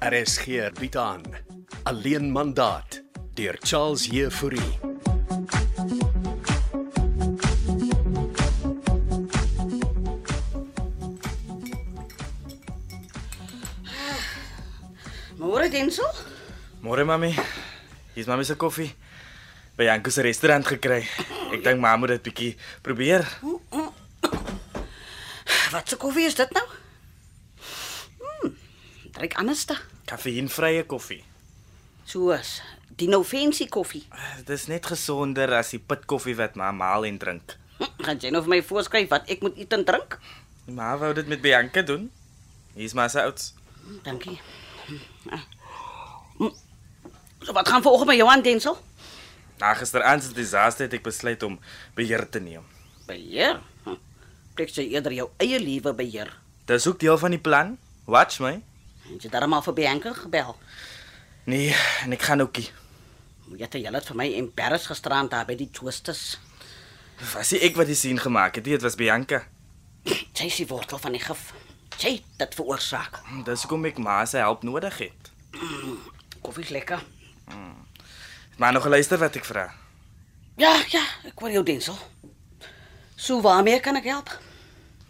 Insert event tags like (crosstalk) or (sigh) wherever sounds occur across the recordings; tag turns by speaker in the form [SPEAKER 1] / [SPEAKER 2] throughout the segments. [SPEAKER 1] RSG bied aan Alleen mandaat deur Charles Heffouri.
[SPEAKER 2] Môre Denzel?
[SPEAKER 3] Môre mami. Hier's mami se koffie. By Janko se restaurant gekry. Ek dink ma moet dit bietjie probeer.
[SPEAKER 2] Wat se koffie is dit nou? Hmm, drink anders da.
[SPEAKER 3] Kafeïnvrye koffie.
[SPEAKER 2] Soos die nou fancy koffie.
[SPEAKER 3] Ah, Dit is net gesonder as die pitkoffie wat ma maal en drink.
[SPEAKER 2] Hm, Gaan jy nou vir my voorskryf wat ek moet eet en drink?
[SPEAKER 3] Ma wou dit met Bianca doen. Hier's ma se ouds.
[SPEAKER 2] Hm, Dankie. Hm, ah. Hm, So wat gaan vanoggend met jou aan Denzel?
[SPEAKER 3] Na gisteraand se disaster het ek besluit om beheer te neem.
[SPEAKER 2] Beheer. Hm, Trek jy eerder jou eie lewe beheer.
[SPEAKER 3] Dis ook deel van die plan. Watch my.
[SPEAKER 2] Het jy daarom al vir Bianca gebel?
[SPEAKER 3] Nee, en ek gaan ookie.
[SPEAKER 2] Jy het julle vir my embarrass gisteraan daar by die twisters.
[SPEAKER 3] Was nie ek wat die sien gemaak het, nie, dit was Bianca.
[SPEAKER 2] Sy is die wortel van die gif. Sy het dit veroorsaak.
[SPEAKER 3] Dis hoekom ek ma se help nodig het.
[SPEAKER 2] Koffie is lekker.
[SPEAKER 3] Maar nog luister wat ek vra.
[SPEAKER 2] Ja, ja, ek hoor jou Denzel. So waarmee kan ek help?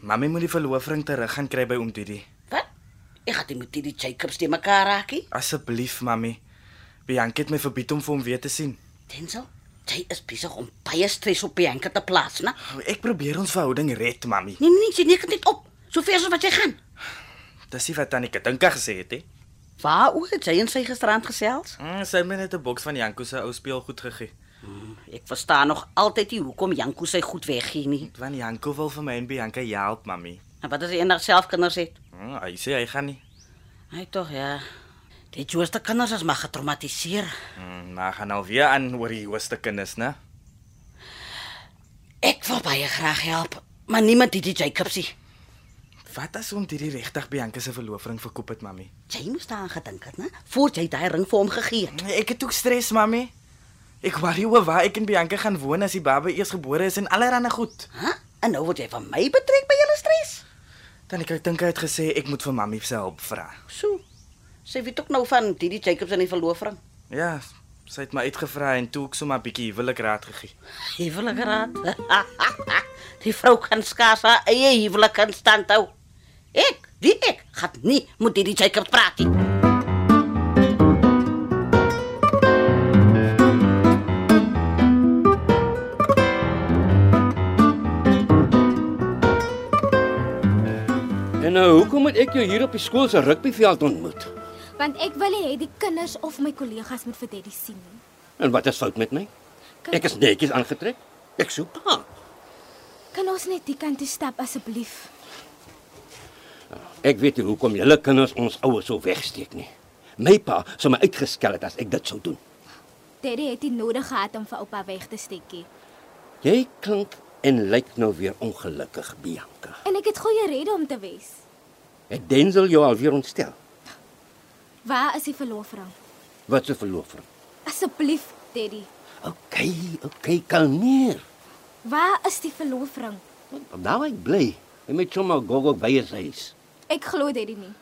[SPEAKER 3] Mamy moet die verloofring terug gaan kry by oom Didi.
[SPEAKER 2] Wat? Ek het met die Jacobs te mekaar raakie.
[SPEAKER 3] Asseblief, mamy. Bianca het my verbied om vir hom weer te sien.
[SPEAKER 2] Denzel, jy is besig om baie stres op Bianca te plaas, né?
[SPEAKER 3] Ek probeer ons verhouding red, mamy.
[SPEAKER 2] Nee nee, jy nek dit op. So ver as wat jy gaan.
[SPEAKER 3] Dis nie wat tannie Katinka gesê het, hè? He.
[SPEAKER 2] Waaroor het jy en sy gisterand gesels?
[SPEAKER 3] Mm, sy het my net 'n boks van Janko se ou speelgoed gegee.
[SPEAKER 2] Ek verstaan nog altyd nie hoekom Janko sy goed weggee nie.
[SPEAKER 3] Want Janko wil vir my en Bianca help, mamy.
[SPEAKER 2] En wat as hy eendag self kinders het?
[SPEAKER 3] Mm, hy sê hy gaan nie.
[SPEAKER 2] Hy tog ja. Die jongste kinders is maar getraumatiseer.
[SPEAKER 3] Mm, maar gaan alweer aan oor die hoogste kinders, né?
[SPEAKER 2] Ek wil baie graag help, maar niemand die Jacobs nie.
[SPEAKER 3] Wat as oom Didi regtig Bianca se verloofring verkoop het, mamy?
[SPEAKER 2] Jy moes daaraan gedink het, né? Voordat jy daai ring vir hom gegee het.
[SPEAKER 3] Mm, Ek het ook stres, mamy. Ek worry oor waar ek en Bianca gaan woon as die baba eersgebore is en allerlei goed.
[SPEAKER 2] Hæ? En nou word jy van my betrek by julle stres.
[SPEAKER 3] Tannie Katinka het gesê ek moet vir mamy se hulp vra.
[SPEAKER 2] So. Sy weet ook nou van Didi Jacobs en die verloofring.
[SPEAKER 3] Ja, sy het my uitgevra en toe ek sommer 'n bietjie huwelik raad gegee.
[SPEAKER 2] Huwelike raad. (laughs) die vrou kan skaars haar eie huwelik in stand hou. Ek, die ek, gaan nie met Didi Jacobs praat nie.
[SPEAKER 4] En nou, hoekom moet ek jou hier op die skool se rugbyveld ontmoet?
[SPEAKER 5] Want ek wil nie hê die kinders of my kollegas moet vir Daddy sien nie.
[SPEAKER 4] En wat is fout met my?
[SPEAKER 5] Kan,
[SPEAKER 4] Ek is netjies aangetrek. Ek soek pa.
[SPEAKER 5] kan ons net die kant toe stap asseblief?
[SPEAKER 4] Ek weet nie hoekom julle kinders ons ouers so wegsteek nie. My pa sou my uitgeskel het as ek dit sou doen.
[SPEAKER 5] Daddy het dit nodig gehad om vir oupa weg te steekie.
[SPEAKER 4] Jy klink en lyk nou weer ongelukkig, Bianca.
[SPEAKER 5] En ek het goeie redes om te wees.
[SPEAKER 4] Het Denzel jou alweer ontstel?
[SPEAKER 5] Waar is die verlofring?
[SPEAKER 4] Wat 'n verloofring.
[SPEAKER 5] Asseblief, Daddy.
[SPEAKER 4] OK, OK, kalmeer.
[SPEAKER 5] Waar is die verlofring?
[SPEAKER 4] Nou ek bly. Jy moet sommer gogo by jou huis.
[SPEAKER 5] Ek glo Daddy nie.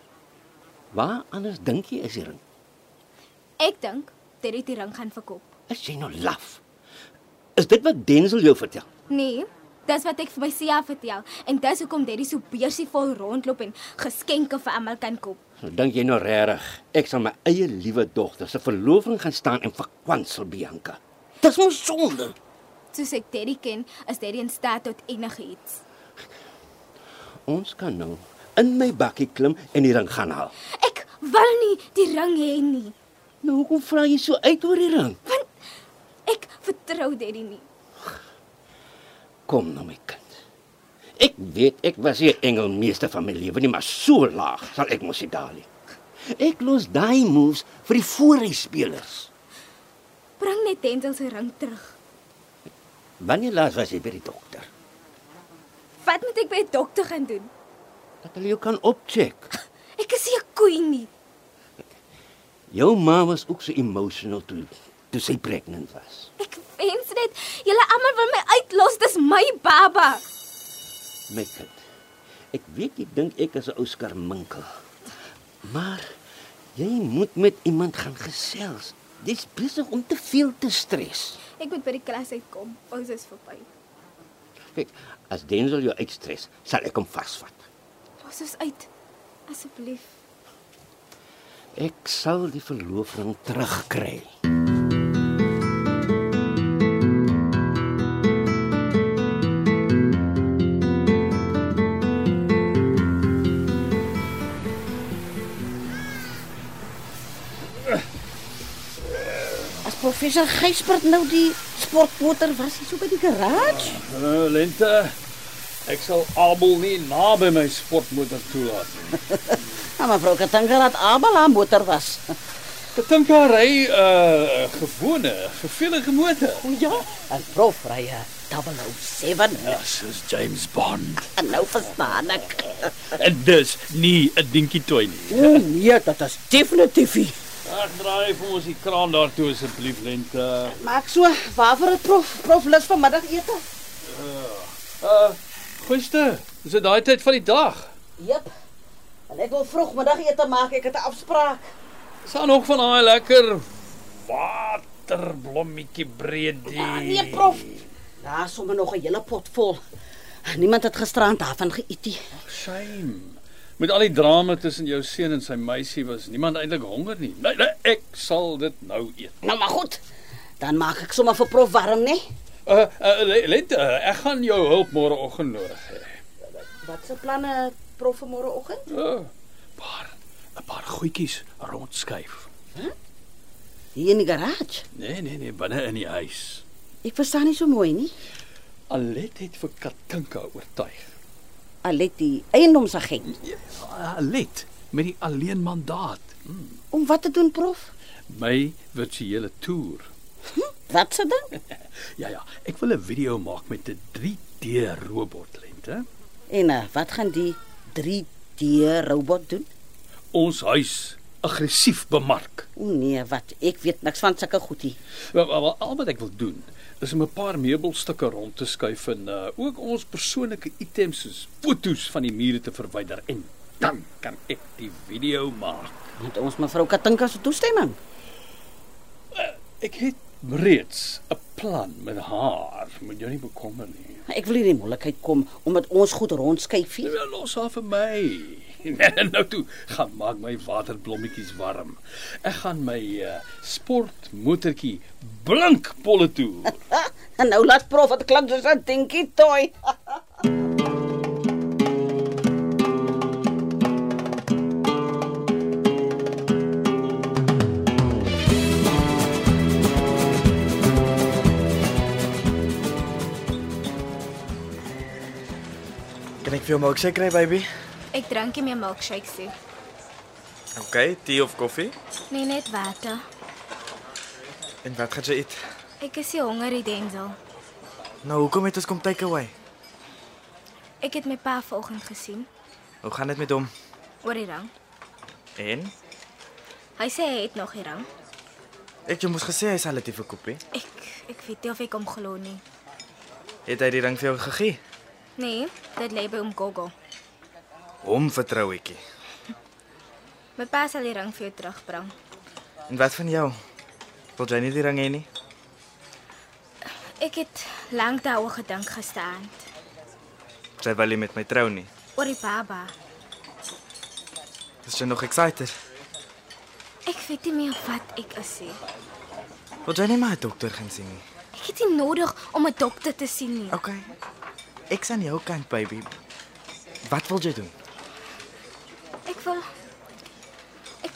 [SPEAKER 4] Waar anders dink jy is die ring?
[SPEAKER 5] Ek dink Daddy het die ring gaan verkoop.
[SPEAKER 4] Is jy nou laf? Is dit wat Denzel jou vertel?
[SPEAKER 5] Nee, dis wat ek vir my Sia vertel en dis hoekom Daddy so beursievol rondloop en geskenke vir almal kan koop.
[SPEAKER 4] Nou dink jy nou regtig, ek sal my eie liewe dogter se verloving gaan staan en verkwansel Bianca. Dis mos sonde.
[SPEAKER 5] Soos ek Daddy ken, is Daddy in staat tot enigiets.
[SPEAKER 4] Ons kan nou in my bakkie klim en die ring gaan haal.
[SPEAKER 5] Ek wil nie die ring hê nie.
[SPEAKER 4] Nou hoekom vra jy so uit oor die ring?
[SPEAKER 5] Ek vertrou Daddy nie.
[SPEAKER 4] Kom nou my kind. Ek weet ek was hier engelmeester van my lewe nie, maar so laag sal ek mos nie daal nie. Ek los daai moves vir die voorryspelers.
[SPEAKER 5] Bring net Denzel se ring terug.
[SPEAKER 4] Wanneer laas was jy by die dokter?
[SPEAKER 5] Wat moet ek by 'n dokter gaan doen?
[SPEAKER 4] Dat hulle jou kan opcheck.
[SPEAKER 5] Ek is nie 'n koei nie.
[SPEAKER 4] Jou ma was ook so emotional toe toe sy pregnant was.
[SPEAKER 5] Ek Mens net, julle almal wil my uitlos, dis my baba.
[SPEAKER 4] My kind. Ek weet jy dink ek is 'n ou skarminkel. Maar jy moet met iemand gaan gesels. Dis besig om te veel te stres.
[SPEAKER 5] Ek moet by die klas uitkom. Ons is verby.
[SPEAKER 4] Kyk, as Denzel jou uitstres, sal ek hom vasvat.
[SPEAKER 5] Los ons uit. Asseblief.
[SPEAKER 4] Ek sal die verloofring terugkry.
[SPEAKER 2] As professor Gysbert nou die sportmotor was hier so by die garage.
[SPEAKER 6] Uh, lente. Ek sal Abel nie naby my sportmotor toelaat nie.
[SPEAKER 2] Nou mevrou Katanga het Abel haar motor was. (laughs)
[SPEAKER 6] Katink ry 'n uh, gewone, geveelige motor.
[SPEAKER 2] O ja, en prof ry 'n 007.
[SPEAKER 6] Soos James Bond.
[SPEAKER 2] En nou verstaan ek.
[SPEAKER 6] En dis nie 'n dinkie toy nie.
[SPEAKER 2] O nee, dit is definitief. nie.
[SPEAKER 6] Ag, draai vir ons die kraan daartoe asseblief, lente.
[SPEAKER 2] Maak so, waarvoor het prof prof lus vanmiddagete?
[SPEAKER 6] Uh, gister, is dit daai tyd van die dag?
[SPEAKER 2] Jep. En ek wil vroeg middagete maak, ek het 'n afspraak.
[SPEAKER 6] Is daar nog van daai lekker waterblommetjie breedie?
[SPEAKER 2] Ah, nee, prof. Daar's sommer nog 'n hele pot vol. Niemand het gisterand daarvan geëet nie.
[SPEAKER 6] Shame. Met al die drama tussen jou seun en sy meisie was niemand eintlik honger nie. Nee, nee, ek sal dit nou eet.
[SPEAKER 2] Nou maar goed. Dan maak ek sommer vir prof warm, nee? né?
[SPEAKER 6] Uh, uh le- let, uh, ek gaan jou hulp môreoggend nodig hê.
[SPEAKER 2] Wat se planne het prof vir môreoggend?
[SPEAKER 6] Uh, paar 'n paar goedjies rondskuif.
[SPEAKER 2] Hier in die garage.
[SPEAKER 6] Nee, nee, nee, binne in die huis.
[SPEAKER 2] Ek verstaan nie so mooi nie.
[SPEAKER 6] Alet het vir Katinka oortuig.
[SPEAKER 2] Alet die eiendomsagent.
[SPEAKER 6] Ja, Alet met die alleen mandaat.
[SPEAKER 2] Om wat te doen, prof?
[SPEAKER 6] My virtuele toer.
[SPEAKER 2] Wat se ding?
[SPEAKER 6] Ja ja, ek wil 'n video maak met 'n 3D robot lente.
[SPEAKER 2] En uh, wat gaan die 3D robot doen?
[SPEAKER 6] Ons huis aggressief bemark.
[SPEAKER 2] O nee, wat? Ek weet niks van sulke goedie.
[SPEAKER 6] Wel, wel, wel, al wat ek wil doen is om 'n paar meubelstukke rond te skuif en uh, ook ons persoonlike items soos fotos van die mure te verwyder en dan kan ek die video maak.
[SPEAKER 2] Met ons mevrou Katinka se toestemming.
[SPEAKER 6] Ek het reeds 'n plan met haar, moet jou nie bekommer nie.
[SPEAKER 2] Ek wil nie in die moeilikheid kom om met ons goed rondskuif nie.
[SPEAKER 6] Wel, Nou, los haar vir my. (laughs) En nou toe, gaan maak my waterblommetjies warm. Ek gaan my uh, sportmotortjie blink polle toe.
[SPEAKER 2] Ah, en nou laat prof wat klink soos 'n dinkie toy.
[SPEAKER 3] Kan ek vir jou milkshake kry, baby?
[SPEAKER 5] Ek drink nie meer milkshakes nie.
[SPEAKER 3] OK, tee of koffie?
[SPEAKER 5] Nee, net water.
[SPEAKER 3] En wat gaan jy eet?
[SPEAKER 5] Ek is nie honger, nie, Denzel.
[SPEAKER 3] Nou, hoekom het ons kom take away?
[SPEAKER 5] Ek het my pa vanoggend gesien
[SPEAKER 3] Hoe gaan dit met hom?
[SPEAKER 5] oor die rang.
[SPEAKER 3] En
[SPEAKER 5] Hy sê hy het nog die rang.
[SPEAKER 3] ek jy moes gesê hy sal dit nie verkoop nie.
[SPEAKER 5] Ek ek weet nie of ek hom glo nie.
[SPEAKER 3] Het hy die ring vir jou gegee?
[SPEAKER 5] Nee, dit lê by hom Gogo.
[SPEAKER 3] Hom vertrou ekie.
[SPEAKER 5] My pa sal die ring vir jou terugbring.
[SPEAKER 3] En wat van jou? Wil jy nie die ring hê nie?
[SPEAKER 5] Ek het lank daaroor gedink gestaan
[SPEAKER 3] Sy wil nie met my trou nie.
[SPEAKER 5] oor die baba.
[SPEAKER 3] Is jy nog excited?
[SPEAKER 5] Ek weet nie meer wat ek is nie.
[SPEAKER 3] Wil jy nie maar 'n dokter gaan sien nie?
[SPEAKER 5] Ek het nie nodig om 'n dokter te sien nie.
[SPEAKER 3] OK. Ek's aan jou kant, baby. Wat wil jy doen?
[SPEAKER 5] Ek wil ek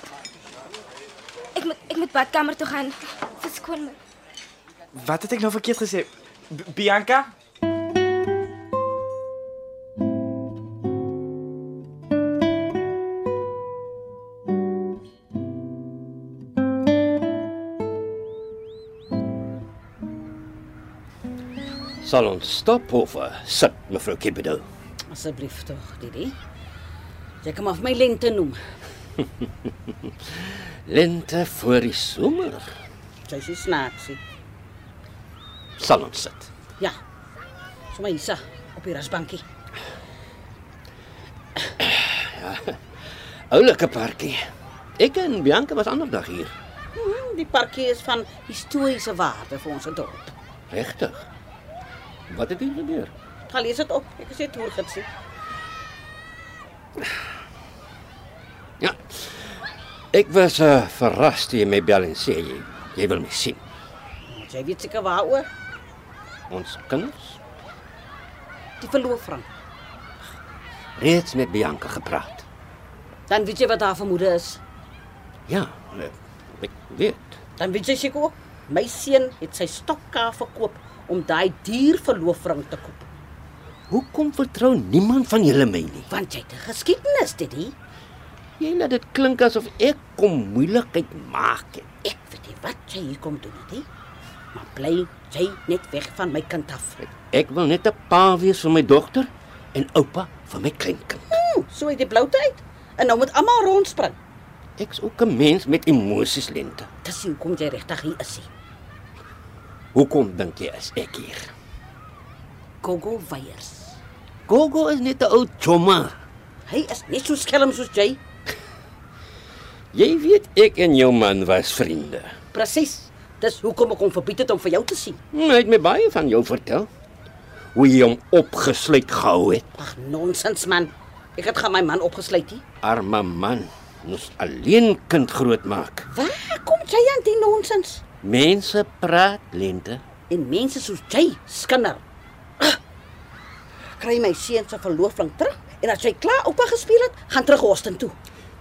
[SPEAKER 5] ek moet ek moet badkamer toe gaan. Verskoon my.
[SPEAKER 3] Wat het ek nou verkeerd gesê? B Bianca?
[SPEAKER 4] Sal ons stop of uh, sit, mevrou Kibedo?
[SPEAKER 2] Asseblief tog, Didi. Jy kan maar vir my lente noem.
[SPEAKER 4] Lente voor die somer.
[SPEAKER 2] Sy is snaaksie.
[SPEAKER 4] Sal ons sit.
[SPEAKER 2] Ja. Sommer hier op die rasbankie.
[SPEAKER 4] Oulike parkie. Ek en Bianca was ander dag hier.
[SPEAKER 2] Hm, Die parkie is van historiese waarde vir ons dorp.
[SPEAKER 4] Regtig? Wat het hier gebeur?
[SPEAKER 2] Ga lees dit op. Ek sê toergidsie.
[SPEAKER 4] Ja. Ek was uh, verras toe jy my bel en sê jy, jy wil my sien.
[SPEAKER 2] Want Jy weet seker waaroor
[SPEAKER 4] Ons kinders
[SPEAKER 2] die verloofring.
[SPEAKER 4] reeds met Bianca gepraat.
[SPEAKER 2] Dan weet jy wat haar vermoede is.
[SPEAKER 4] Ja, eh, ek weet.
[SPEAKER 2] Dan weet jy seker ook, my seun het sy stokkaart verkoop om daai duur verloofring te koop.
[SPEAKER 4] Hoekom vertrou niemand van julle my nie?
[SPEAKER 2] Want jy het 'n geskiedenis, dit hè?
[SPEAKER 4] Jy laat dit klink asof ek kom moeilikheid maak. het.
[SPEAKER 2] Ek weet nie wat jy hier kom doen, hè? Maar bly jy net weg van my kind af.
[SPEAKER 4] Ek wil net 'n pa wees vir my dogter en oupa vir my kleinkind.
[SPEAKER 2] Hm, so uit die bloute uit. En nou moet almal rondspring.
[SPEAKER 4] Ek's ook 'n mens met emosies lente.
[SPEAKER 2] Dis hoe kom jy regtig hier is. hè?
[SPEAKER 4] Hoekom dink jy is ek hier?
[SPEAKER 2] Gogo Weyers.
[SPEAKER 4] Gogo is net 'n ou chomma.
[SPEAKER 2] Hy is net so skelm soos jy.
[SPEAKER 4] Jy weet ek en jou man was vriende.
[SPEAKER 2] Presies. Dis hoekom ek hom verbied het om vir jou te sien.
[SPEAKER 4] Hm, Hy het my baie van jou vertel. Hoe jy hom opgesluit gehou het.
[SPEAKER 2] Ag nonsens man. Ek het gaan my man opgesluit hier.
[SPEAKER 4] Arme man, ons alleen kind grootmaak.
[SPEAKER 2] Waar kom jy aan die nonsens?
[SPEAKER 4] Mense praat lente.
[SPEAKER 2] En mense soos jy skinder. Ah, Kry my seun se verloofling terug en as jy klaar oupa gespeel het, gaan terug Houston toe.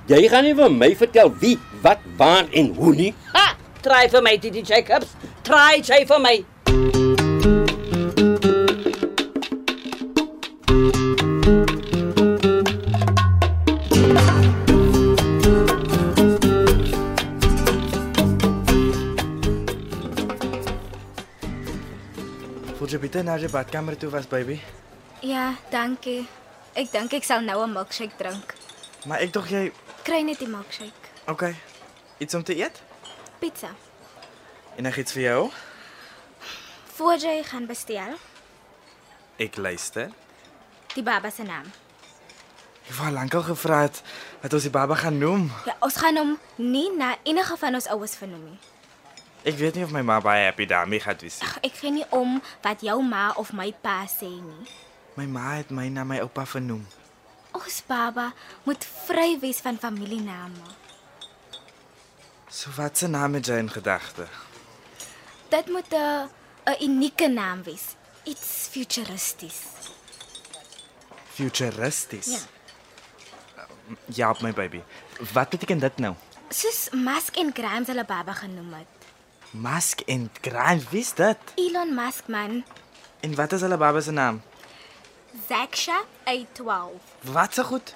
[SPEAKER 4] Jy gaan nie vir my vertel wie, wat, waar en hoe nie.
[SPEAKER 2] Ha, try vir my Didi Jacobs. Try jy vir my.
[SPEAKER 3] Voel jy beter na jy badkamer toe was, baby?
[SPEAKER 5] Ja, dankie. Ek dink ek sal nou 'n milkshake drink.
[SPEAKER 3] Maar ek dink jy,
[SPEAKER 5] Kry net die milkshake.
[SPEAKER 3] okay, iets om te eet?
[SPEAKER 5] Pizza.
[SPEAKER 3] En ek iets vir jou.
[SPEAKER 5] Voor jy gaan bestel,
[SPEAKER 3] Ek luister.
[SPEAKER 5] die baba se naam.
[SPEAKER 3] Ek wou lankal gevra het wat ons die baba gaan noem.
[SPEAKER 5] Ja, ons gaan hom nie na enige van ons ouers vernoem nie.
[SPEAKER 3] Ek weet nie of my ma baie happy daarmee gaan wees nie.
[SPEAKER 5] Ag, Ek gee nie om wat jou ma of my pa sê nie.
[SPEAKER 3] My ma het my na my oupa vernoem.
[SPEAKER 5] Ons baba moet vry wees van familiename.
[SPEAKER 3] So wat se naam het jy in gedagte?
[SPEAKER 5] Dit moet 'n 'n unieke naam wees. Iets futuristies.
[SPEAKER 3] Futuristies.
[SPEAKER 5] Ja.
[SPEAKER 3] Ja, op my baby. Wat beteken dit nou?
[SPEAKER 5] Soos Musk en Grimes hulle baba genoem het.
[SPEAKER 3] Musk en Grimes, wie is dit?
[SPEAKER 5] Elon Musk man,
[SPEAKER 3] En wat is hulle baba se naam?
[SPEAKER 5] Zaksha A12.
[SPEAKER 3] Wat se goed?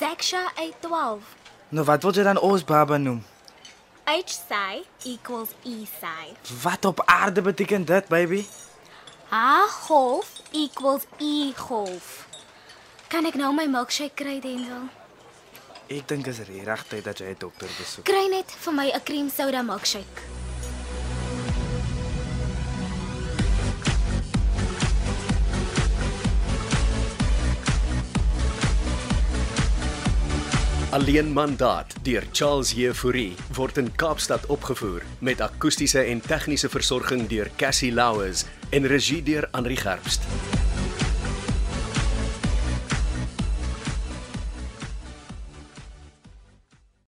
[SPEAKER 5] Zaksha A12.
[SPEAKER 3] Nou wat wil jy dan ons baba noem?
[SPEAKER 5] H psi equals E psi.
[SPEAKER 3] Wat op aarde beteken dit, baby?
[SPEAKER 5] H golf equals E golf. Kan ek nou my milkshake kry, Denzel?
[SPEAKER 3] Ek dink is regtig tyd dat jy 'n dokter besoek.
[SPEAKER 5] Kry net vir my 'n cream soda milkshake.
[SPEAKER 1] Alleen mandaat deur Charles Jefouri word in Kaapstad opgevoer met akoestiese en tegniese versorging deur Cassie Louws en regie deur Henri Gerst.